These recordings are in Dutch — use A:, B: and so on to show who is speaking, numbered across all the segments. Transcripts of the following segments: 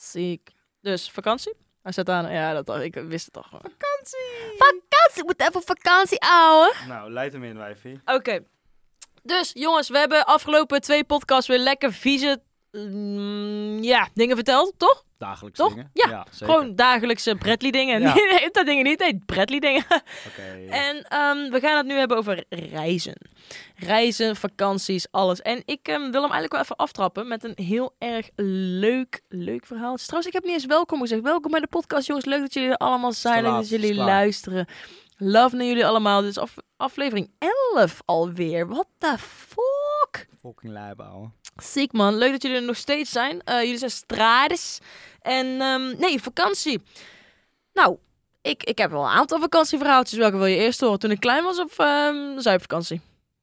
A: Ziek. Dus vakantie? Hij zet aan. Ja, dat, al- ik wist het al gewoon.
B: Ik moet even op vakantie, ouwe.
C: Nou, leid hem in, wijfie.
A: Oké. Dus jongens, we hebben afgelopen twee podcasts weer lekker vieze mm, ja, dingen verteld, toch?
C: Dagelijks
A: Toch?
C: dingen.
A: Ja,
C: zeker.
A: Gewoon dagelijkse Bradley dingen.
C: Ja.
A: Nee, dat dingen niet. Nee, Bradley dingen.
C: Oké. eh,
A: En ehm, we gaan het nu hebben over reizen. Reizen, vakanties, alles. En ik ehm, wil hem eigenlijk wel even aftrappen met een heel erg leuk, leuk verhaal. Het is Trouwens, ik heb niet eens welkom gezegd. Welkom bij de podcast, jongens. Leuk dat jullie er allemaal zijn en
C: laat,
A: dat
C: het is
A: jullie
C: klaar.
A: luisteren. Love naar jullie allemaal. Dit is af- aflevering 11 alweer. What the fuck?
C: Fucking lijp, ouwe.
A: Ziek man, leuk dat jullie er nog steeds zijn. Eh, jullie zijn strades. En ehm, nee, vakantie. Nou, ik, ik heb wel een aantal vakantieverhaaltjes. Welke wil je eerst horen? Toen ik klein was of ehm zuipvakantie?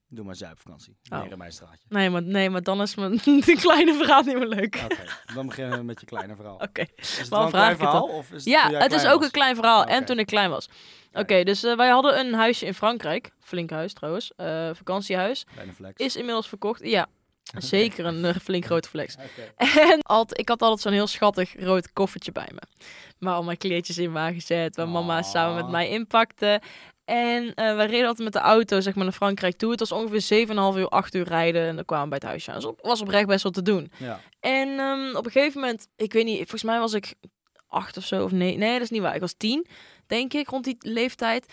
C: Doe maar zuipvakantie.
A: Oh.
C: Meer in mijn straatje.
A: Nee, maar, nee, maar dan is mijn de kleine verhaal niet meer leuk.
C: Oké, dan beginnen we met je kleine verhaal.
A: Oké.
C: Is het
A: waarom
C: wel een
A: vraag
C: klein
A: ik het
C: verhaal? Of is het
A: Ja,
C: toen jij
A: het is
C: klein
A: ook
C: was?
A: een klein verhaal.
C: Oké.
A: En toen ik klein was. Oké,
C: Oké.
A: dus eh, wij hadden een huisje in Frankrijk. Flink huis trouwens. eh, vakantiehuis.
C: Kleine flex.
A: Is inmiddels verkocht. Ja, zeker een eh, flink grote flex.
C: Oké.
A: En altijd, ik had altijd zo'n heel schattig rood koffertje bij me. Waar al mijn kleertjes in waren gezet. Waar mama
C: Aw.
A: samen met mij inpakte. En eh, wij reden altijd met de auto zeg maar, naar Frankrijk toe. Het was ongeveer 7,5 uur, 8 uur rijden. En dan kwamen we bij het huisje aan. Dus op, was oprecht best wel te doen.
C: Ja.
A: En ehm, op een gegeven moment, ik weet niet, volgens mij was ik acht of zo. Of nee, nee, dat is niet waar. Ik was tien, denk ik, rond die leeftijd.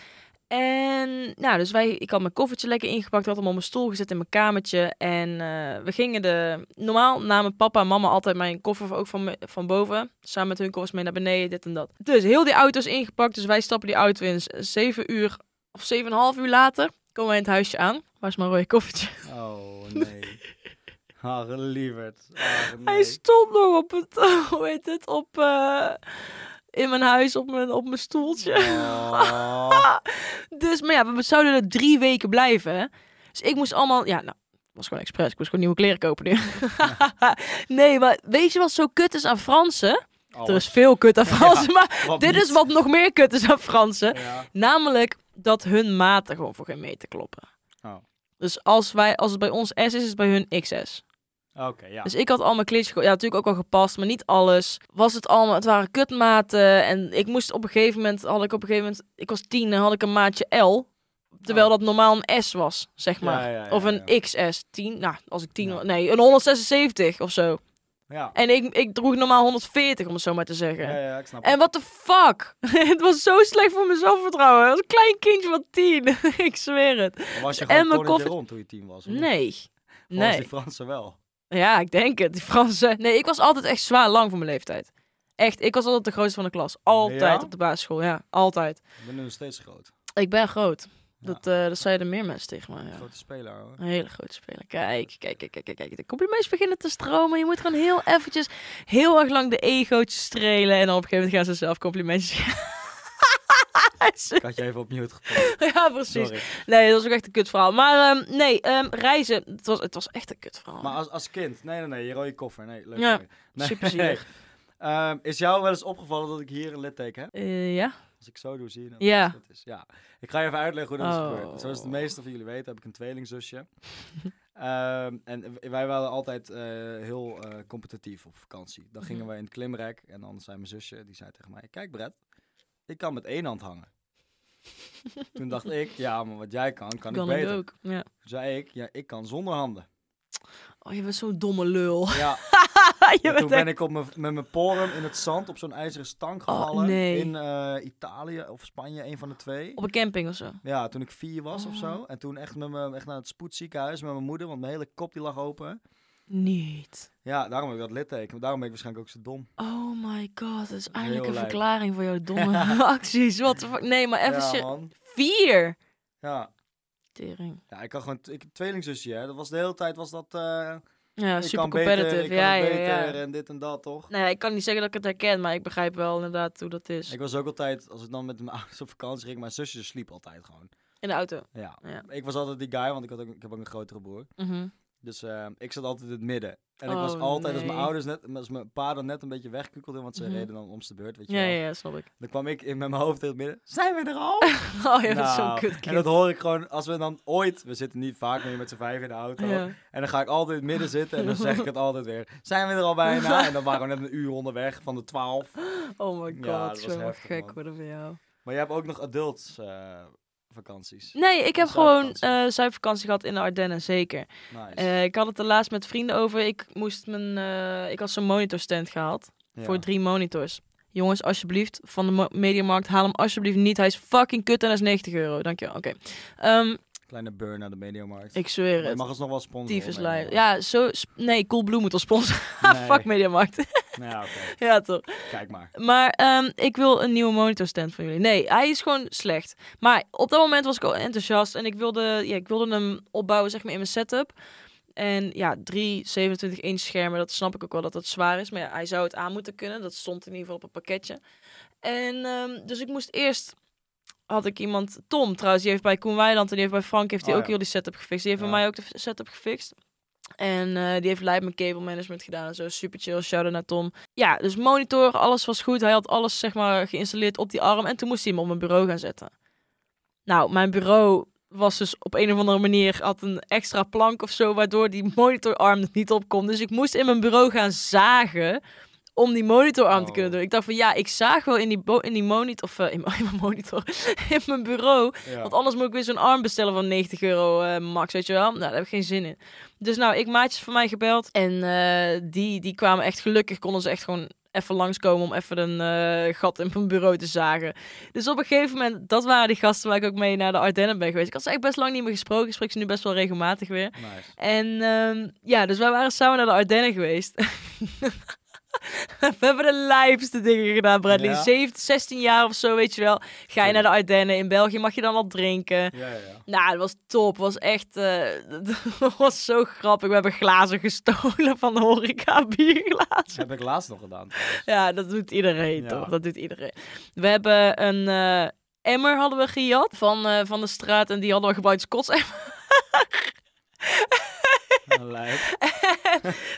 A: En nou, dus wij, ik had mijn koffertje lekker ingepakt, had hem op mijn stoel gezet in mijn kamertje. En eh, we gingen de. Normaal namen papa en mama altijd mijn koffer ook van, me- van boven. Samen met hun koffers mee naar beneden, dit en dat. Dus heel die auto's ingepakt. Dus wij stappen die auto in. Z- Zeven uur of zeven en een half uur later komen wij in het huisje aan. Waar is mijn rode koffertje?
C: Oh, nee. Ah, gelieverd. Ah, nee.
A: Hij stond nog op het, hoe heet het, op, eh, in mijn huis op mijn, op mijn stoeltje.
C: Oh.
A: Dus, maar ja, we zouden er drie weken blijven. hè. Dus ik moest allemaal, ja, nou, het was gewoon expres. Ik moest gewoon nieuwe kleren kopen nu. nee, maar weet je wat zo kut is aan Fransen? Er is veel kut aan Fransen, maar
C: Oh, Wat
A: dit
C: niet.
A: is wat nog meer kut is aan Fransen.
C: Ja.
A: Namelijk dat hun maten gewoon voor geen meter kloppen.
C: Oh.
A: Dus als, wij, als het bij ons S is, is het bij hun XS.
C: Oké, ja.
A: Dus ik had al mijn kleertjes, ge- ja, natuurlijk ook al gepast, maar niet alles. Was het allemaal, het waren kutmaten. En ik moest op een gegeven moment, had ik op een gegeven moment, ik was tien en had ik een maatje L. Terwijl
C: Oh.
A: dat normaal een S was, zeg
C: Ja,
A: maar.
C: ja, ja,
A: of een
C: ja.
A: XS, 10. Nou, als ik 10
C: Ja.
A: was, nee, een 176 of zo.
C: Ja.
A: En ik, ik droeg normaal 140, om het zo maar te zeggen.
C: Ja, ja, ik snap
A: En
C: het.
A: what the fuck? het was zo slecht voor mijn zelfvertrouwen. Als een klein kindje van 10. ik zweer het.
C: Was je
A: en
C: gewoon
A: mijn
C: tonnetje
A: koffer-
C: rond toen je tien was? of niet?
A: Nee.
C: Volgens
A: Nee.
C: die Fransen wel.
A: Ja, ik denk het. Die Fransen. Nee, ik was altijd echt zwaar lang voor mijn leeftijd. Echt, ik was altijd de grootste van de klas. Altijd
C: Ja?
A: op de basisschool, ja. Altijd.
C: Ik ben nu nog steeds groot.
A: Ik ben groot.
C: Ja.
A: Dat, eh dat zeiden meer mensen tegen mij, ja.
C: Grote speler, hoor.
A: Een hele grote speler. Kijk, kijk, kijk, kijk, kijk, kijk. De complimentjes beginnen te stromen. Je moet gewoon heel eventjes, heel erg lang de egootjes strelen. En dan op een gegeven moment gaan ze zelf complimentjes geven.
C: Ik had je even op mute gepakt.
A: ja, precies.
C: Sorry.
A: Nee, dat was ook echt een kutverhaal. Maar ehm, nee, ehm, reizen, het was, het was echt een kutverhaal.
C: Maar als, als kind, nee, nee, nee, je rode koffer. Nee, leuk.
A: Oh. Ja,
C: sorry. nee,
A: superzielig.
C: Ehm, is jou wel eens opgevallen dat ik hier een litteken heb?
A: Eh, ja?
C: Als ik zo doe, zie je dat
A: Ja.
C: het goed is. Ja. Ik ga je even uitleggen hoe dat
A: Oh.
C: is gebeurd. Zoals de meesten van jullie weten, heb ik een tweelingzusje. Ehm, en w- wij waren altijd eh, heel eh, competitief op vakantie. Dan gingen
A: Mhm.
C: we in het klimrek en dan zei mijn zusje, die zei tegen mij... Kijk Brett, ik kan met één hand hangen. Toen dacht ik, ja, maar wat jij kan,
A: Kan
C: kan, ik
A: ik
C: beter.
A: ook. Ja.
C: Toen zei ik, ja, ik kan zonder handen.
A: Oh, je bent zo'n domme lul.
C: Ja,
A: je
C: En
A: bent
C: toen
A: echt-
C: ben ik op mijn- met mijn porum in het zand op zo'n ijzeren stang gevallen.
A: Oh, nee.
C: In eh, Italië of Spanje, een van de twee.
A: Op een camping of zo.
C: Ja, toen ik vier was of zo.
A: Oh.
C: En toen echt, met mijn, echt naar het spoedziekenhuis met mijn moeder, want mijn hele kop die lag open.
A: Niet.
C: Ja, daarom heb ik dat litteken. Daarom ben ik waarschijnlijk ook zo dom.
A: Oh my god, dat is eindelijk
C: Heel
A: een
C: lijp.
A: verklaring voor jouw domme acties. Wat de fuck? Nee, maar even
C: ja,
A: ser-
C: man.
A: Vier!
C: Ja.
A: Tering.
C: ja, ik had gewoon... t- Ik heb tweelingzusje, hè. Dat was de hele tijd was dat... eh,
A: Ja,
C: ik
A: super
C: kan beter,
A: competitive.
C: ik kan
A: ja,
C: het
A: ja, ja.
C: beter en dit en dat, toch?
A: Nou ja, ik kan niet zeggen dat ik het herken, maar ik begrijp wel inderdaad hoe dat is.
C: Ik was ook altijd, als ik dan met mijn ouders op vakantie ging, mijn zusje sliep altijd gewoon.
A: In de auto.
C: Ja.
A: Ja.
C: Ik was altijd die guy, want ik, had ook, ik heb ook een grotere broer.
A: Mhm.
C: Dus eh, ik zat altijd in het midden. En ik was
A: Oh,
C: altijd, als mijn
A: nee.
C: ouders net, als mijn pa dan net een beetje wegkukkelde, want ze
A: Mhm.
C: reden dan om de beurt, weet je
A: Ja,
C: wel.
A: ja, ja, snap ik.
C: Dan kwam ik in met mijn hoofd in het midden, zijn we er al?
A: Oh, je bent zo'n
C: Nou,
A: kut
C: En dat hoor ik gewoon, als we dan ooit, we zitten niet vaak meer met z'n vijf in de auto,
A: Ja.
C: en dan ga ik altijd in het midden zitten en dan zeg ik het altijd weer, zijn we er al bijna? En dan waren we net een uur onderweg van de twaalf.
A: Oh my god,
C: Ja, dat was
A: zo
C: heftig,
A: gek
C: man.
A: worden van jou.
C: Maar jij hebt ook nog adults eh, vakanties.
A: Nee, ik heb gewoon
C: Zuidvakantie.
A: eh zuidvakantie gehad in de Ardennen, zeker.
C: Nice.
A: Eh, ik had het er laatst met vrienden over. Ik moest mijn, eh, ik had zo'n monitorstand gehaald
C: Ja.
A: voor drie monitors. Jongens, alsjeblieft, van de Mo- Mediamarkt, haal hem alsjeblieft niet. Hij is fucking kut en hij is 90 euro. Dankjewel, oké. Ehm,
C: Kleine burn naar de mediamarkt.
A: ik zweer
C: Maar je
A: het.
C: mag ons nog wel sponsoren.
A: Tief is Ja, zo... sp- Nee, Coolblue moet ons sponsoren.
C: Nee.
A: Fuck Mediamarkt.
C: Nou ja, oké.
A: ja, toch.
C: Kijk maar.
A: Maar ehm, ik wil een nieuwe monitorstand van jullie. Nee, hij is gewoon slecht. Maar op dat moment was ik al enthousiast en ik wilde, ja, ik wilde hem opbouwen zeg maar, in mijn setup. En ja, drie 27 inch schermen, dat snap ik ook wel dat dat zwaar is. Maar ja, hij zou het aan moeten kunnen. Dat stond in ieder geval op een pakketje. En ehm, dus ik moest eerst... Had ik iemand... Tom trouwens, die heeft bij Koen Weiland en die heeft bij Frank... heeft die
C: Oh,
A: ook
C: ja.
A: heel die setup gefixt. Die heeft
C: Ja.
A: bij mij ook de setup gefixt. En eh, die heeft live mijn cable management gedaan en zo. Super chill, shout-out naar Tom. Ja, dus monitor, alles was goed. Hij had alles zeg maar geïnstalleerd op die arm. En toen moest hij hem op mijn bureau gaan zetten. Nou, mijn bureau was dus op een of andere manier... had een extra plank of zo... waardoor die monitorarm er niet op kon. Dus ik moest in mijn bureau gaan zagen... om die monitorarm te kunnen
C: Oh.
A: doen. Ik dacht van ja, ik zaag wel in die, bo- in die monitor... of eh, in, mijn- in mijn monitor, in mijn bureau...
C: Ja.
A: Want anders moet ik weer zo'n arm bestellen van 90 euro eh, max, weet je wel. Nou, daar heb ik geen zin in. Dus nou, ik maatjes van mij gebeld. En eh, die, die kwamen echt gelukkig, konden ze echt gewoon even langskomen om even een eh, gat in mijn bureau te zagen. Dus op een gegeven moment, dat waren die gasten waar ik ook mee naar de Ardennen ben geweest. Ik had ze echt best lang niet meer gesproken. Ik spreek ze nu best wel regelmatig weer.
C: Nice.
A: En ehm, ja, dus wij waren samen naar de Ardennen geweest. We hebben de lijpste dingen gedaan, Bradley.
C: Ja.
A: 17, 16 jaar of zo, weet je wel. Ga je naar de Ardennen. In België mag je dan al drinken.
C: Ja, ja, ja.
A: Nou, dat was top. was echt... eh, dat was zo grappig. We hebben glazen gestolen van de horeca. Bierglazen.
C: heb ik laatst nog gedaan. trouwens.
A: Ja, dat doet iedereen,
C: Ja.
A: toch? Dat doet iedereen. We hebben een eh, emmer hadden we gejat van, eh, van de straat. En die hadden we gebruikt als kots
C: Lijp.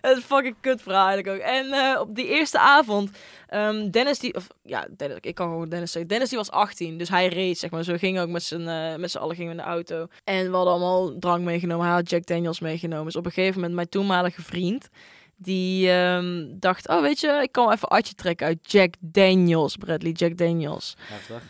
A: Het is fucking kut verhaal eigenlijk ook. En eh, op die eerste avond, ehm, Dennis die... Of, ja, Dennis, ik kan gewoon Dennis zeggen. Dennis die was 18, dus hij reed, zeg maar. Zo gingen we ook met z'n eh, met z'n allen gingen we in de auto. En we hadden allemaal drank meegenomen. Hij had Jack Daniels meegenomen. Dus op een gegeven moment mijn toenmalige vriend... Die ehm, dacht, oh weet je, ik kan wel even Atje trekken uit Jack Daniels, Bradley Jack Daniels.
C: Heftig.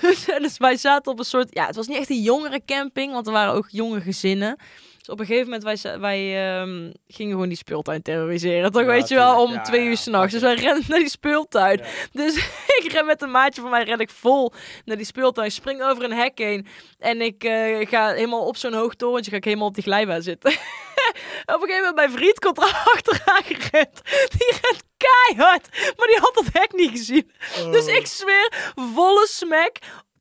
A: Dus, dus wij zaten op een soort... Ja, het was niet echt een jongerencamping, want er waren ook jonge gezinnen. Dus op een gegeven moment, wij, za- wij ehm, gingen gewoon die speeltuin terroriseren. Toch,
C: Ja,
A: weet je wel,
C: tuurlijk.
A: om
C: Ja,
A: twee
C: ja,
A: uur s'nachts. Dus
C: fuck
A: wij renden naar die speeltuin.
C: Ja.
A: Dus ik ren met een maatje van mij, ren ik vol naar die speeltuin. Spring over een hek heen. En ik eh, ga helemaal op zo'n hoog torentje, ga ik helemaal op die glijbaan zitten. op een gegeven moment, mijn vriend komt er achteraan gerend. Die rent keihard, maar die had dat hek niet gezien. Dus ik zweer, volle smack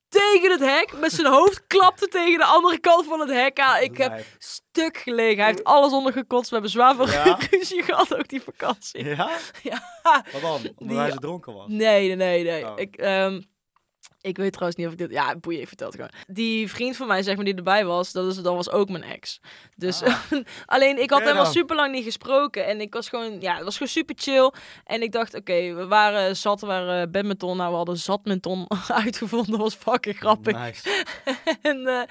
A: tegen het hek. Met zijn hoofd klapte tegen de andere kant van het hek aan. Ik heb
C: Lijp.
A: stuk gelegen. Hij heeft alles ondergekotst. We hebben zwaar veel
C: Ja?
A: ruzie gehad ook die vakantie.
C: Ja?
A: Ja.
C: Wat dan? Omdat
A: Die-
C: hij ze dronken was.
A: Nee, nee, nee. nee.
C: Oh.
A: Ik, ehm, ik weet trouwens niet of ik dit... Ja, boeien, ik vertel het gewoon. Die vriend van mij, zeg maar, die erbij was, dat, is, dat was ook mijn ex. Dus
C: Ah.
A: alleen, ik had
C: Oké
A: hem al
C: dan.
A: super lang niet gesproken. En ik was gewoon, ja, het was gewoon super chill. En ik dacht, oké, we waren zat, we waren badminton. Nou, we hadden zatminton uitgevonden. Dat was fucking grappig.
C: Nice.
A: En eh,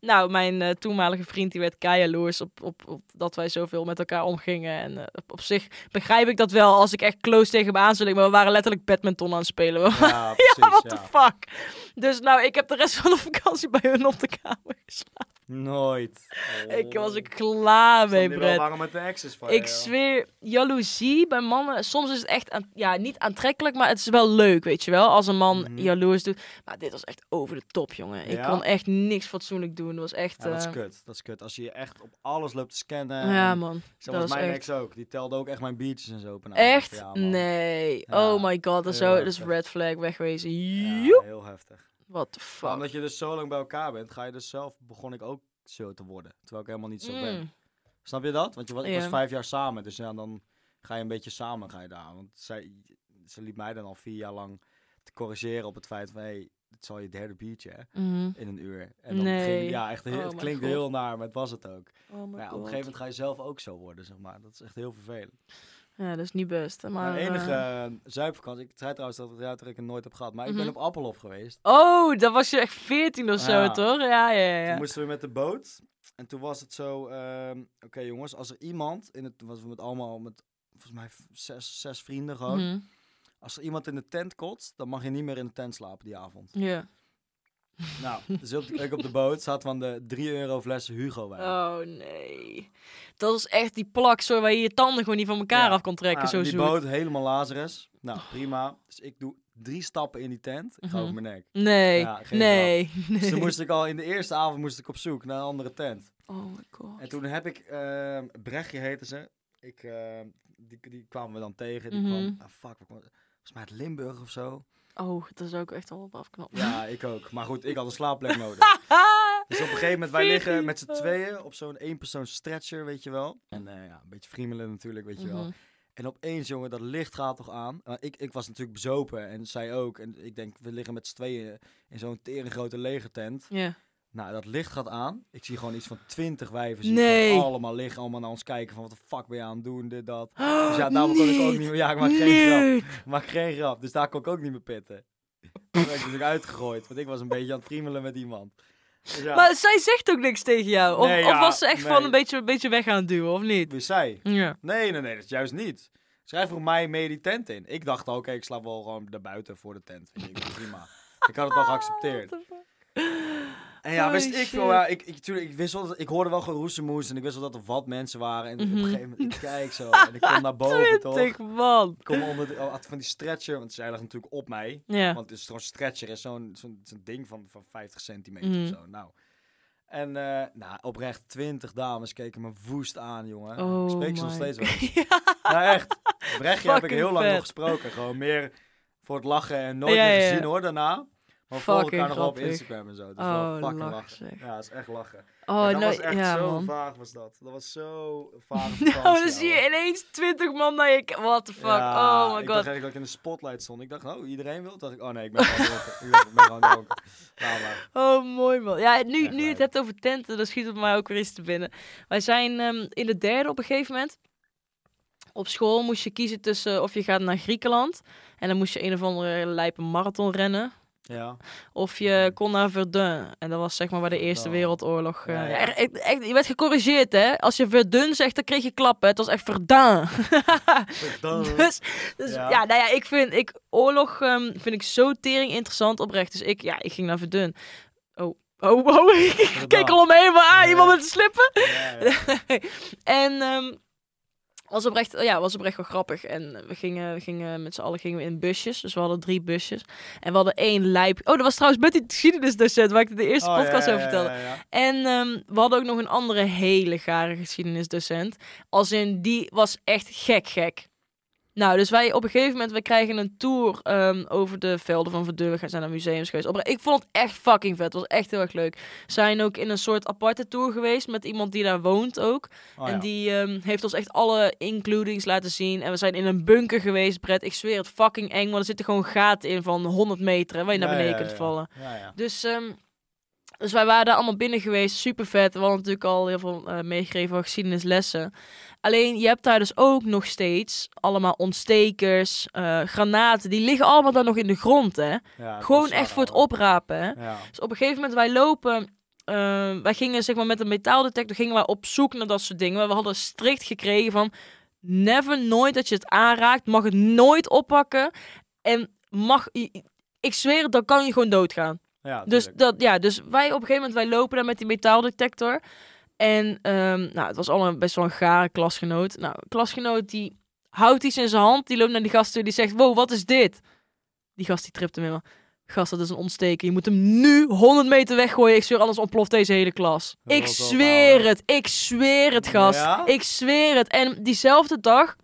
A: nou, mijn eh, toenmalige vriend die werd keihaloers op, op, op dat wij zoveel met elkaar omgingen. En eh, op, op zich begrijp ik dat wel als ik echt close tegen hem aan zou liggen. Maar we waren letterlijk badminton aan het spelen. We-
C: Ja, precies.
A: ja, what the
C: ja.
A: fuck. Dus nou, ik heb de rest van de vakantie bij hun op de kamer geslapen.
C: Nooit.
A: Ik was
C: ik
A: er klaar mee,
C: Brett.
A: Brett.
C: Waarom met de exes van
A: Ik
C: je, joh.
A: zweer, jaloezie bij mannen. Soms is het echt, aan- ja, niet aantrekkelijk, maar het is wel leuk, weet je wel. Als een man
C: Mhm.
A: jaloers doet. Maar dit was echt over de top, jongen. Ik
C: Ja?
A: kon echt niks fatsoenlijk doen. Het was echt...
C: Ja, dat is
A: eh,
C: kut. Dat is kut. Als je je echt op alles loopt te scannen.
A: ja,
C: en-
A: man.
C: Zo was
A: dat is
C: Ehm, mijn
A: echt-
C: ex ook. Die telde ook echt mijn biertjes en zo. op een avond.
A: Echt?
C: Ja, man.
A: nee.
C: Ja,
A: oh my god, dat is,
C: heel
A: zo, dat is
C: heftig.
A: red flag wegwezen.
C: Ja,
A: Joep.
C: heel heftig.
A: What the
C: Maar
A: fuck.
C: Omdat je dus zo lang bij elkaar bent, ga je dus zelf, begon ik ook zo te worden. Terwijl ik helemaal niet zo ben.
A: Mm.
C: Snap je dat? Want je was, ik
A: Ja.
C: was vijf jaar samen, dus ja, dan ga je een beetje samen ga je daar. Want zij, ze liet mij dan al vier jaar lang te corrigeren op het feit van... Hey, het zal je derde biertje hè,
A: Mhm.
C: in een uur. En dan
A: Nee.
C: ging, ja, echt, heel-
A: Oh
C: het
A: mijn
C: klinkt
A: God.
C: heel naar, maar het was het ook.
A: Oh my
C: Maar ja, op
A: God.
C: een gegeven moment ga je zelf ook zo worden, zeg maar. Dat is echt heel vervelend.
A: Ja, dat is niet best. Maar,
C: Mijn enige
A: eh,
C: eh, zuipvakantie. Ik zei trouwens dat ik het ik het nooit heb gehad. Maar ik
A: Mhm.
C: ben op Appelhof geweest.
A: Oh, dan was je echt 14 of zo,
C: Ja.
A: toch? Ja, ja,
C: Toen
A: ja.
C: moesten we met de boot. En toen was het zo. ehm, Oké, jongens, als er iemand. In het, toen was we met allemaal. Met volgens mij v- zes, zes vrienden gewoon.
A: Mhm.
C: Als er iemand in de tent kotst, dan mag je niet meer in de tent slapen die avond.
A: Ja.
C: nou, dus op de, ik op de boot zat van de 3 euro flessen Hugo wijn.
A: Oh nee. Dat is echt die plak zo waar je je tanden gewoon niet van elkaar
C: Ja.
A: af kan trekken.
C: Nou,
A: zo
C: die
A: zoet.
C: boot helemaal Lazarus. Nou, prima. Dus ik doe drie stappen in die tent. Ik ga
A: Mhm.
C: over mijn nek.
A: Nee,
C: Ja, geen
A: nee, nee.
C: Dus toen moest ik al in de eerste avond moest ik op zoek naar een andere tent.
A: Oh my god.
C: En toen heb ik, ehm Brechtje heette ze. Ik, ehm, die, die kwamen we dan tegen. Die
A: Mhm.
C: kwam, ah, fuck, waar kwam- volgens mij uit Limburg of zo.
A: Oh, dat is ook echt al op afknappen.
C: Ja, ik ook. Maar goed, ik had een slaapplek nodig. Dus op een gegeven moment, wij liggen met z'n tweeën op zo'n eenpersoons stretcher, weet je wel. En eh, ja, een beetje friemelen natuurlijk, weet je wel.
A: Mhm.
C: En opeens, jongen, dat licht gaat toch aan. Want ik, ik was natuurlijk bezopen en zij ook. En ik denk, we liggen met z'n tweeën in zo'n tering grote legertent.
A: Ja.
C: Nou, dat licht gaat aan. Ik zie gewoon iets van twintig wijven. Zie ik
A: Nee.
C: gewoon allemaal liggen, allemaal naar ons kijken. Van wat de fuck ben je aan het doen, dit, dat. Dus ja, daarom kon ik ook
A: Niet.
C: niet meer... Ja, ik maak geen
A: Oh, Nee.
C: grap. Ik maak geen grap. Dus daar kon ik ook niet meer pitten. Toen werd ik natuurlijk uitgegooid. Want ik was een beetje aan het friemelen met iemand. Dus ja,
A: Maar zij zegt ook niks tegen jou. Of,
C: Nee,
A: of
C: ja,
A: was ze echt van
C: nee.
A: een beetje, een beetje weg aan het duwen, of niet?
C: wist Dus zij.
A: Ja.
C: Nee, nee, nee, dat is juist niet. Zij vroeg mij mee die tent in. Ik dacht al, oké, ik slaap wel gewoon daarbuiten voor de tent. Vind ik prima. Ik had het al geaccepteerd. Oh, En ja,
A: Holy
C: wist ik veel.
A: shit.
C: Ja, ik, ik, tuurlijk, ik, wist wel dat, ik hoorde wel gewoon roesemoes en ik wist wel dat er wat mensen waren. En op
A: Mhm.
C: een gegeven moment, ik kijk zo en ik kom naar boven, toch?
A: Twintig man.
C: Ik kom onder de, oh, had van die stretcher, want zij lag natuurlijk op mij.
A: Ja.
C: Want dus zo'n stretcher is zo'n zo'n zo'n ding van, van 50 centimeter
A: Mhm.
C: of zo. Nou. En eh, nou, oprecht, 20 dames keken me woest aan, jongen.
A: Oh
C: ik spreek ze nog
A: my
C: steeds wel. eens. Nou echt, Brechtje heb ik
A: Fucking
C: heel lang
A: vet.
C: nog gesproken. Gewoon meer voor het lachen en nooit
A: Ja,
C: meer
A: ja, ja.
C: gezien hoor, daarna. Maar voor
A: Fucking
C: elkaar nog wel op
A: grappig.
C: Instagram en zo. Dus
A: Oh,
C: wel fucking
A: lach,
C: lachen.
A: zeg.
C: Ja, dat is echt lachen.
A: Oh,
C: Maar dat
A: nou,
C: was echt
A: ja,
C: zo
A: man.
C: vaag was dat. Dat was zo vaag.
A: Nou, dan zie je ineens 20 man naar je... k- What the fuck? oh my god.
C: Ik dacht eigenlijk dat ik in de spotlight stond. Ik dacht, oh, iedereen wil. Toen dacht ik, oh nee, ik ben gewoon dronken. Ik dacht, ik ben gewoon dronken. Nou, maar.
A: Oh, mooi man. Ja, nu,
C: Echt
A: nu je het
C: leuk.
A: hebt over tenten, dan schiet het mij ook weer eens te binnen. Wij zijn ehm, in de derde op een gegeven moment. Op school moest je kiezen tussen eh, of je gaat naar Griekenland. En dan moest je een of andere lijpe marathon rennen.
C: Ja.
A: Of je kon naar Verdun. En dat was zeg maar waar de Eerste
C: Verdun.
A: Wereldoorlog... eh,
C: Ja, ja.
A: ja, echt- echt- je werd gecorrigeerd hè. Als je Verdun zegt, dan kreeg je klappen. Het was echt Verdun. Dus, dus ja.
C: Oh. Ja.
A: nou ja, ik vind ik, oorlog ehm, vind ik zo tering interessant oprecht. Dus ik, ja, ik ging naar Verdun. Oh, oh, oh. ik keek al omheen, maar ah,
C: Nee.
A: iemand met een slipper.
C: Ja, ja.
A: En ehm, was oprecht, ja, was oprecht wel grappig. En we gingen, we gingen met z'n allen gingen we in busjes. Dus we hadden drie busjes. En we hadden één lijp. Oh, dat was trouwens met die geschiedenisdocent waar ik de eerste
C: Oh, ja,
A: podcast
C: ja,
A: over
C: ja,
A: vertelde.
C: ja, ja.
A: En ehm, we hadden ook nog een andere hele gare geschiedenisdocent. Als in, die was echt gek gek. Nou, dus wij op een gegeven moment, we krijgen een tour ehm, over de velden van Verdun. We gaan- zijn naar museums geweest. Opre- Ik vond het echt fucking vet. Het was echt heel erg leuk. We zijn ook in een soort aparte tour geweest met iemand die daar woont ook.
C: Oh,
A: en
C: ja.
A: die ehm, heeft ons echt alle includings laten zien. En we zijn in een bunker geweest, Brett. Ik zweer het, fucking eng. Maar er zitten gewoon gaten in van 100 meter hè, waar je naar
C: Ja,
A: beneden
C: ja,
A: kunt
C: ja.
A: vallen.
C: Ja, ja.
A: Dus, ehm, dus wij waren daar allemaal binnen geweest. Super vet. We hadden natuurlijk al heel veel eh, meegegeven van geschiedenislessen. Alleen je hebt daar dus ook nog steeds allemaal ontstekers, eh, granaten. Die liggen allemaal daar nog in de grond. Hè?
C: Ja, dat
A: Gewoon
C: is
A: echt
C: waar,
A: voor het
C: hoor.
A: oprapen. Hè?
C: Ja.
A: Dus op een gegeven moment, wij lopen. eh, wij gingen zeg maar met een metaaldetector gingen wij op zoek naar dat soort dingen. Maar we hadden strikt gekregen van never nooit dat je het aanraakt, mag het nooit oppakken en mag ik zweer het, dan kan je gewoon doodgaan.
C: Ja,
A: Dus,
C: tuurlijk.
A: dat, ja, dus wij op een gegeven moment, wij lopen daar met die metaaldetector. En ehm, nou, het was allemaal best wel een gare klasgenoot. Nou, een klasgenoot die houdt iets in zijn hand, die loopt naar die gast toe, die zegt, wow, wat is dit? Die gast die tript hem helemaal. Gast, dat is een ontsteker. Je moet hem nu 100 meter weggooien. Ik zweer, anders ontploft deze hele klas.
C: Dat
A: ik
C: was wel
A: zweer
C: fout.
A: het. Ik zweer het, gast.
C: Ja?
A: Ik zweer het. En diezelfde dag,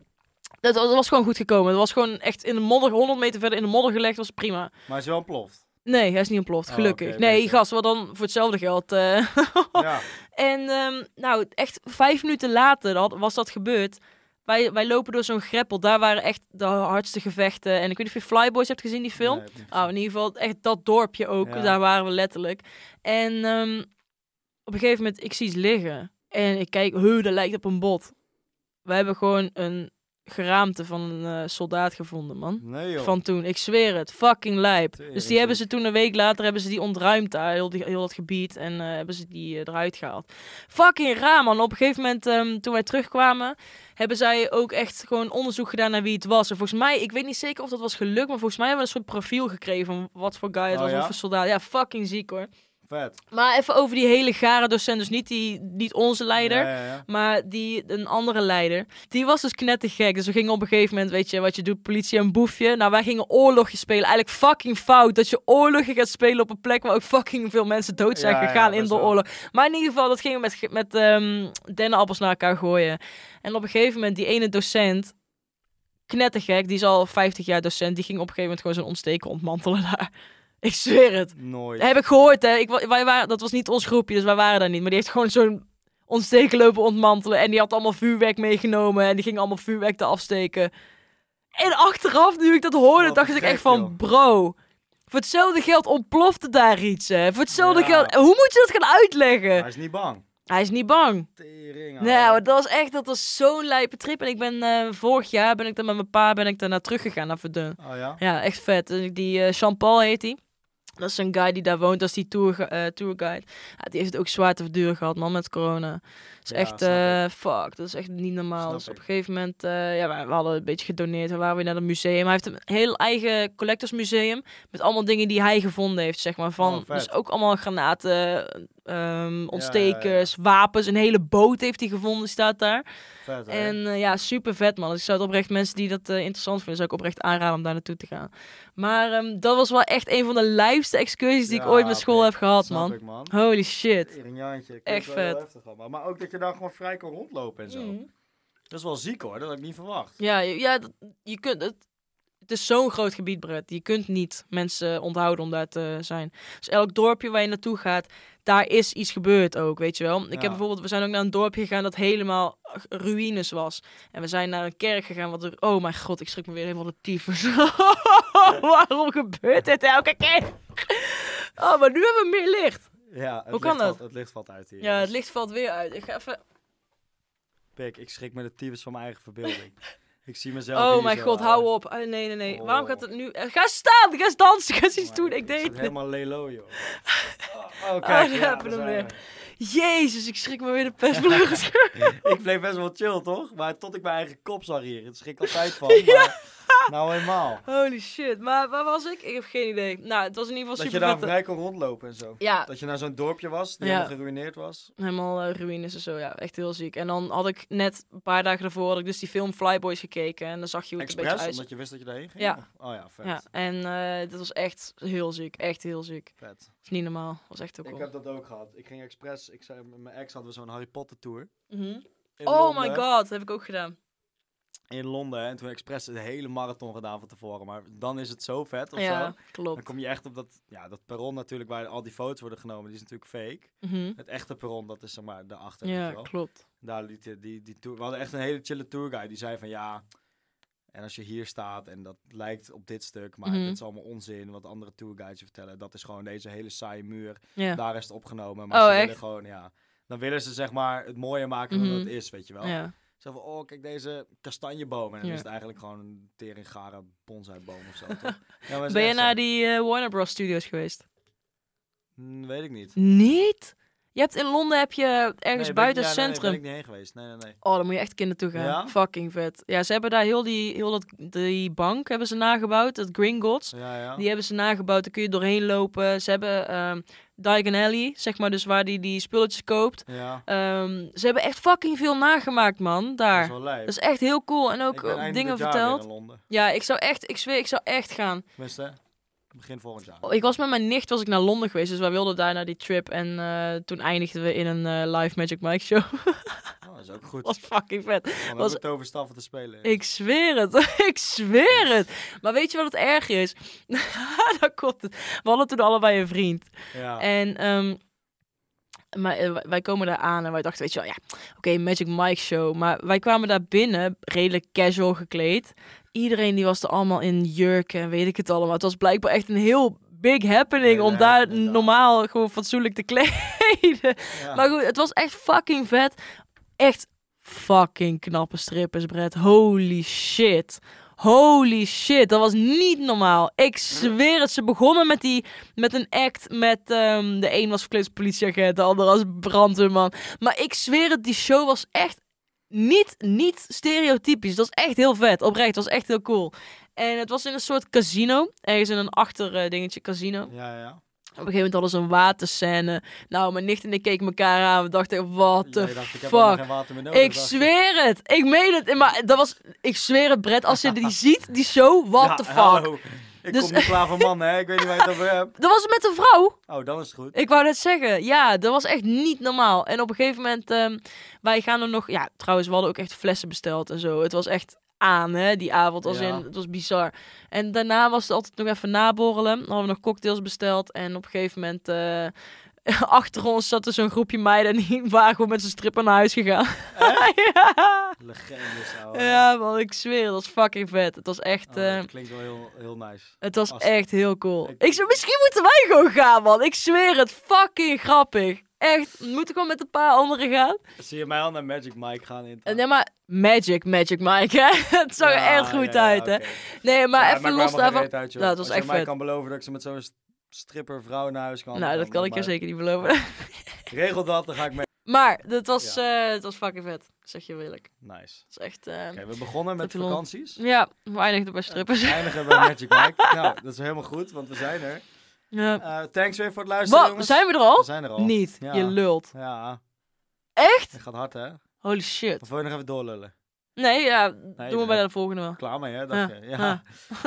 A: dat was, dat was gewoon goed gekomen. Het was gewoon echt in de modder, 100 meter verder in de modder gelegd. was prima.
C: Maar is wel ploft.
A: Nee, hij is niet ontploft,
C: Oh,
A: gelukkig.
C: oké,
A: nee,
C: beter.
A: gast, wel dan voor hetzelfde geld. eh.
C: Ja.
A: en ehm, nou, echt vijf minuten later had- was dat gebeurd. Wij, wij lopen door zo'n greppel. Daar waren echt de hardste gevechten. En ik weet niet of je Flyboys hebt gezien, die film.
C: Nee, heb ik niet
A: Oh, in ieder geval echt dat dorpje ook.
C: Ja.
A: Daar waren we letterlijk. En ehm, op een gegeven moment, ik zie iets liggen. En ik kijk, huh, dat lijkt op een bot. We hebben gewoon een geraamte van een eh, soldaat gevonden, man.
C: gezien. Nee, joh.
A: Van toen, ik zweer het, fucking lijp.
C: Tering,
A: Dus die hebben ze toen een week later hebben ze die ontruimd daar, heel, die, heel dat gebied. En eh, hebben ze die eh, eruit gehaald. Fucking raar man. Op een gegeven moment, ehm, toen wij terugkwamen, hebben zij ook echt gewoon onderzoek gedaan naar wie het was. En volgens mij, ik weet niet zeker of dat was gelukt, maar volgens mij hebben we een soort profiel gekregen van wat voor guy het
C: Oh,
A: was,
C: ja?
A: wat voor soldaat. Ja, fucking ziek hoor.
C: Vet.
A: Maar even over die hele gare docent, dus niet, die, niet onze leider.
C: Ja, ja, ja.
A: Maar die, een andere leider, die was dus knettergek. Dus we gingen op een gegeven moment, weet je, wat je doet, politie en boefje. Nou, wij gingen oorlogje spelen. Eigenlijk fucking fout dat je oorlogje gaat spelen op een plek waar ook fucking veel mensen dood zijn
C: Ja, ja,
A: gegaan in
C: best
A: de
C: wel.
A: oorlog. Maar in ieder geval, dat gingen we met, met ehm, dennenappels naar elkaar gooien. En op een gegeven moment, die ene docent, knettergek, die is al 50 jaar docent, die ging op een gegeven moment gewoon zijn ontsteken ontmantelen daar. Ik zweer het.
C: Nooit.
A: Heb ik gehoord, hè. Ik, wa- wij waren, dat was niet ons groepje, dus wij waren daar niet. Maar die heeft gewoon zo'n ontsteken lopen ontmantelen. En die had allemaal vuurwerk meegenomen. En die ging allemaal vuurwerk te afsteken. En achteraf, nu ik dat hoorde,
C: Wat
A: dacht ik
C: gek,
A: echt van...
C: joh.
A: Bro, voor hetzelfde geld ontplofte daar iets, hè. Voor hetzelfde
C: Ja.
A: geld... Hoe moet je dat gaan uitleggen?
C: Hij is niet bang.
A: Hij is niet bang.
C: Tering.
A: Nou, maar dat was echt dat was zo'n lijpe trip. En ik ben eh, vorig jaar, ben ik dan met mijn pa, ben ik daarna teruggegaan naar Verdun.
C: Oh ja?
A: Ja, echt vet. En Die eh, Jean-Paul heet die. Dat is een guy die daar woont, dat is die tour, eh, tourguide. Ja, die heeft het ook zwaar te verduren gehad, man, met corona. Dat is
C: Ja,
A: echt,
C: snap
A: eh, fuck, dat is echt niet normaal.
C: Snap
A: Dus op
C: ik.
A: een gegeven moment, eh, ja, wij- we hadden een beetje gedoneerd. We waren weer naar het museum. Hij heeft een heel eigen collectorsmuseum met allemaal dingen die hij gevonden heeft, zeg maar. Van,
C: Oh, vet.
A: dus ook allemaal granaten, ehm, ontstekers, wapens. Een hele boot heeft hij gevonden, staat daar.
C: Vet, hè?
A: En eh, ja, super vet man. Dus ik zou het oprecht mensen die dat eh, interessant vinden, zou ik oprecht aanraden om daar naartoe te gaan. Maar ehm, dat was wel echt een van de lijfste excursies die ik
C: Ja,
A: ooit met school
C: oké.
A: heb gehad,
C: Snap
A: man.
C: ik, man.
A: Holy shit.
C: Tering, Jantje. Klinkt
A: Echt
C: wel heel
A: vet.
C: heftig allemaal. Maar ook dat je daar gewoon vrij kan rondlopen en zo.
A: Mm.
C: Dat is wel ziek hoor, dat had ik niet verwacht.
A: Ja, je- ja dat- je kunt het. Het is zo'n groot gebied, Brett. Je kunt niet mensen onthouden om daar te zijn. Dus elk dorpje waar je naartoe gaat, daar is iets gebeurd ook, weet je wel. Ik heb
C: Ja.
A: bijvoorbeeld, we zijn ook naar een dorpje gegaan dat helemaal ruïnes was. En we zijn naar een kerk gegaan, wat er... Oh mijn god, ik schrik me weer helemaal de tyfus. Waarom gebeurt dit elke keer? Oh, maar nu hebben we meer licht.
C: Ja, het
A: Hoe kan
C: licht
A: dat?
C: Valt, het licht valt uit hier.
A: Ja, het
C: jongens.
A: licht valt weer uit. Ik ga even...
C: Pik, ik schrik met de tyfus van mijn eigen verbeelding. ik zie mezelf
A: Oh
C: hier
A: mijn
C: zo,
A: god,
C: ouwe.
A: hou op. Ah, nee, nee, nee. Waarom
C: Oh.
A: gaat het nu... Ga staan, ga eens dansen, ga eens iets
C: Maar
A: doen. Ik
C: zit
A: deed het.
C: helemaal lelo, joh. Oh, oh, kijk,
A: daar
C: ja,
A: hebben we
C: daar zijn
A: hem Jezus, ik schrik me weer de persvlucht.
C: we. Ik bleef best wel chill, toch? Maar tot ik mijn eigen kop zag hier. Het schrik altijd van, maar nou helemaal.
A: Holy shit. Maar waar was ik? Ik heb geen idee. Nou, het was in ieder geval
C: Dat
A: super
C: je daar vrij kon rondlopen en zo.
A: Ja,
C: Dat je naar zo'n dorpje was, die
A: Ja.
C: helemaal geruineerd was.
A: helemaal eh, ruïnes en zo. Ja, echt heel ziek. En dan had ik net een paar dagen daarvoor had ik dus die film Flyboys gekeken. En dan zag je hoe het een beetje
C: Express,
A: uit.
C: omdat je wist dat je daarheen ging?
A: Ja.
C: Oh ja, vet.
A: Ja, en eh dat was echt heel ziek. Echt heel ziek.
C: vet.
A: Dat is niet normaal. Dat was echt ook
C: Ik heb dat ook gehad. Ik ging expres, ik zei, met mijn ex hadden we zo'n Harry Potter tour. in
A: Oh
C: Londen.
A: my god, dat heb ik ook gedaan.
C: in Londen. En toen expres de hele marathon gedaan van tevoren. Maar dan is het zo vet of
A: Ja,
C: zo. Dan
A: klopt.
C: kom je echt op dat, ja, dat perron natuurlijk waar al die foto's worden genomen. Die is natuurlijk fake.
A: Mhm.
C: Het echte perron, dat is zeg maar daarachter. weet
A: Ja,
C: je wel.
A: klopt.
C: Daar liet je die, die tour. We hadden echt een hele chille tourguide. Die zei van ja, en als je hier staat en dat lijkt op dit stuk. Maar
A: Mhm.
C: dit is allemaal onzin wat andere tourguides je vertellen. Dat is gewoon deze hele saaie muur.
A: Ja.
C: Daar is het opgenomen. Maar
A: Oh,
C: ze willen
A: echt?
C: gewoon, ja. Dan willen ze zeg maar het mooier maken dan
A: Mhm.
C: het is, weet je wel.
A: Ja.
C: Zo van, oh, kijk deze kastanjeboom. En dan
A: Ja.
C: is het eigenlijk gewoon een teringare bonsaiboom of zo. toch? Ja, maar het is
A: Ben je
C: echt
A: naar
C: zo.
A: die eh, Warner Bros. Studios geweest?
C: Mm, weet ik niet.
A: Niet? Je hebt in Londen heb je
C: Nee, ben
A: ergens
C: ik-
A: buiten
C: ja,
A: het
C: nee,
A: centrum.
C: Nee, ben ik niet heen geweest. Nee, nee, nee.
A: Oh, dan moet je echt kinder toe gaan.
C: Ja?
A: Fucking vet. Ja, ze hebben daar heel die, heel dat, die bank hebben ze nagebouwd, dat Gringotts.
C: Ja, ja.
A: Die hebben ze nagebouwd, daar kun je doorheen lopen. Ze hebben ehm Diagon Alley, zeg maar, dus waar die, die spulletjes koopt.
C: ja,
A: Ehm, ze hebben echt fucking veel nagemaakt, man,
C: dat is
A: daar.
C: wel lijp.
A: Dat is echt heel cool en ook
C: ik ben
A: eh,
C: eind
A: dingen
C: dit jaar weer
A: verteld.
C: in Londen.
A: Ja, ik zou echt, ik zweer, ik zou echt gaan.
C: Tenminste, begin volgend jaar.
A: Oh, Ik was met mijn nicht was ik naar Londen geweest, dus wij wilden daar naar die trip. En eh, toen eindigden we in een eh, live Magic Mike show.
C: Oh, dat is ook goed.
A: was fucking vet. was-
C: Dan was... het over staffen te spelen.
A: Ik zweer het, ik zweer het. Maar weet je wat het erg is? Daar komt het. We hadden toen allebei een vriend.
C: Ja.
A: En ehm, maar, eh, wij- wij komen daar aan en wij dachten, weet je wel, ja, oké, Magic Mike show. Maar wij kwamen daar binnen, redelijk casual gekleed. Iedereen die was er allemaal in jurken en weet ik het allemaal. Het was blijkbaar echt een heel big happening om
C: Hele
A: daar
C: happening, ja.
A: normaal gewoon fatsoenlijk te kleden.
C: Ja.
A: Maar goed, het was echt fucking vet. Echt fucking knappe strippers, Brett. Holy shit. Holy shit, dat was niet normaal. Ik zweer het, ze begonnen met, die, met een act met... ehm, de een was verkleed als politieagent, de ander als brandweerman. Maar ik zweer het, die show was echt niet, niet stereotypisch. Dat was echt heel vet, oprecht. Dat was echt heel cool. En het was in een soort casino. Ergens in een achterdingetje dingetje casino.
C: Ja, ja.
A: Op een gegeven moment hadden ze een waterscène. Nou, mijn nicht en ik keken elkaar aan. We dachten, what the
C: Ja, je dacht, ik heb helemaal
A: fuck?
C: geen water meer nodig.
A: Ik
C: dacht
A: zweer het. Ik meen het. Maar dat was... Ik zweer het, Brett. Als je die ziet, die show, what
C: Ja,
A: the fuck?
C: hallo. Ik
A: Dus-
C: kom niet klaar voor mannen, hè. Ik weet niet waar je het over hebt.
A: Dat was het met een vrouw.
C: Oh, dan is het goed.
A: Ik wou net zeggen. Ja, dat was echt niet normaal. En op een gegeven moment... ehm, wij gaan er nog... Ja, trouwens, we hadden ook echt flessen besteld en zo. Het was echt aan, hè, die avond. Als
C: Ja.
A: in, het was bizar. En daarna was het altijd nog even naborrelen. Dan hadden we nog cocktails besteld. En op een gegeven moment... eh, achter ons zat er zo'n groepje meiden en die waren gewoon met z'n strippen naar huis gegaan. ja.
C: Legendes, ouwe.
A: Ja, man, ik zweer, dat was fucking vet. Het was echt,
C: Oh,
A: eh,
C: dat klinkt wel heel, heel nice.
A: het was
C: als-
A: echt heel cool.
C: Ik-
A: Ik zei, misschien moeten wij gewoon gaan, man. Ik zweer het, fucking grappig. Echt, we moeten gewoon met een paar anderen gaan.
C: Zie je mij al naar Magic Mike gaan in?
A: Nee, maar Magic, Magic Mike, hè. Het zag er echt goed uit, hè. Nee, maar even los daarvan. Nou, het was
C: Als
A: echt
C: je mij
A: vet.
C: kan beloven dat ik ze met zo'n st- stripper vrouw naar huis kan.
A: Nou,
C: dan
A: dat kan ik je
C: maar
A: zeker niet beloven.
C: Regel dat, dan ga ik mee.
A: Maar, het was, eh, het was fucking vet, zeg je eerlijk.
C: Nice.
A: Het is echt, eh,
C: Oké, we begonnen met
A: Tot die lol.
C: vakanties.
A: ja, we eindigden bij strippers.
C: We eindigen bij Magic Mike. nou, dat is helemaal goed, want we zijn er.
A: Ja.
C: Eh, thanks weer voor het luisteren,
A: Wat,
C: jongens.
A: zijn we er al?
C: We zijn er al.
A: Niet,
C: Ja.
A: je lult.
C: Ja,
A: Echt?
C: het gaat hard, hè?
A: Holy shit.
C: Of wil je nog even doorlullen?
A: Nee, ja, doen we
C: bent-
A: bij de volgende wel.
C: Klaar mee, hè? Dacht
A: Ja,
C: je. Ja,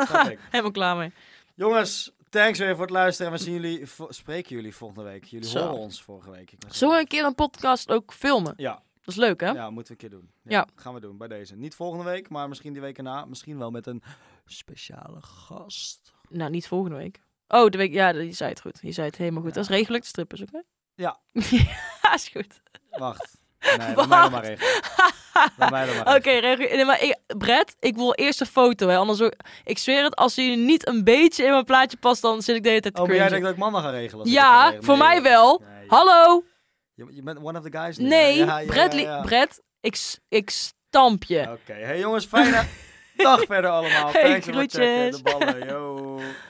C: snap ik.
A: Helemaal klaar mee.
C: Jongens, thanks weer voor het luisteren. En we zien jullie, vo- spreken jullie volgende week. Jullie
A: Zo.
C: horen ons vorige week. Ik was-
A: Zullen we een keer een podcast ook filmen?
C: Ja,
A: Dat is leuk, hè?
C: Ja, moeten we een keer doen. Ja,
A: Ja.
C: Gaan we doen bij deze. Niet volgende week, maar misschien die week erna. Misschien wel met een speciale gast.
A: Nou, niet volgende week. Oh, de week, ja, je zei het goed. Je zei het helemaal goed. Dat is regelijk de strippers, oké?
C: Ja.
A: ja, is goed.
C: Wacht. Nee, laat mij dan maar regelen. Laat mij dan maar
A: Oké,
C: regelen.
A: regel- nee, maar ik, Brett, ik wil eerst een foto, hè? Anders, ook- ik zweer het, als jullie niet een beetje in mijn plaatje past, dan zit ik de hele tijd te
C: Oh, maar jij
A: cringen.
C: denkt dat ik mannen ga regelen? als ik het ga
A: Ja,
C: regelen?
A: voor
C: Nee,
A: mij wel.
C: nee.
A: Hallo?
C: Je, je bent one of the guys? nu, hè?
A: Nee,
C: Ja, ja,
A: Brett,
C: ja,
A: li-
C: ja.
A: Brett, ik, s- ik stamp je.
C: Oké, hey jongens, fijne dag verder allemaal.
A: Hey,
C: Thanks voor het checken.
A: groetjes.
C: De ballen, yo.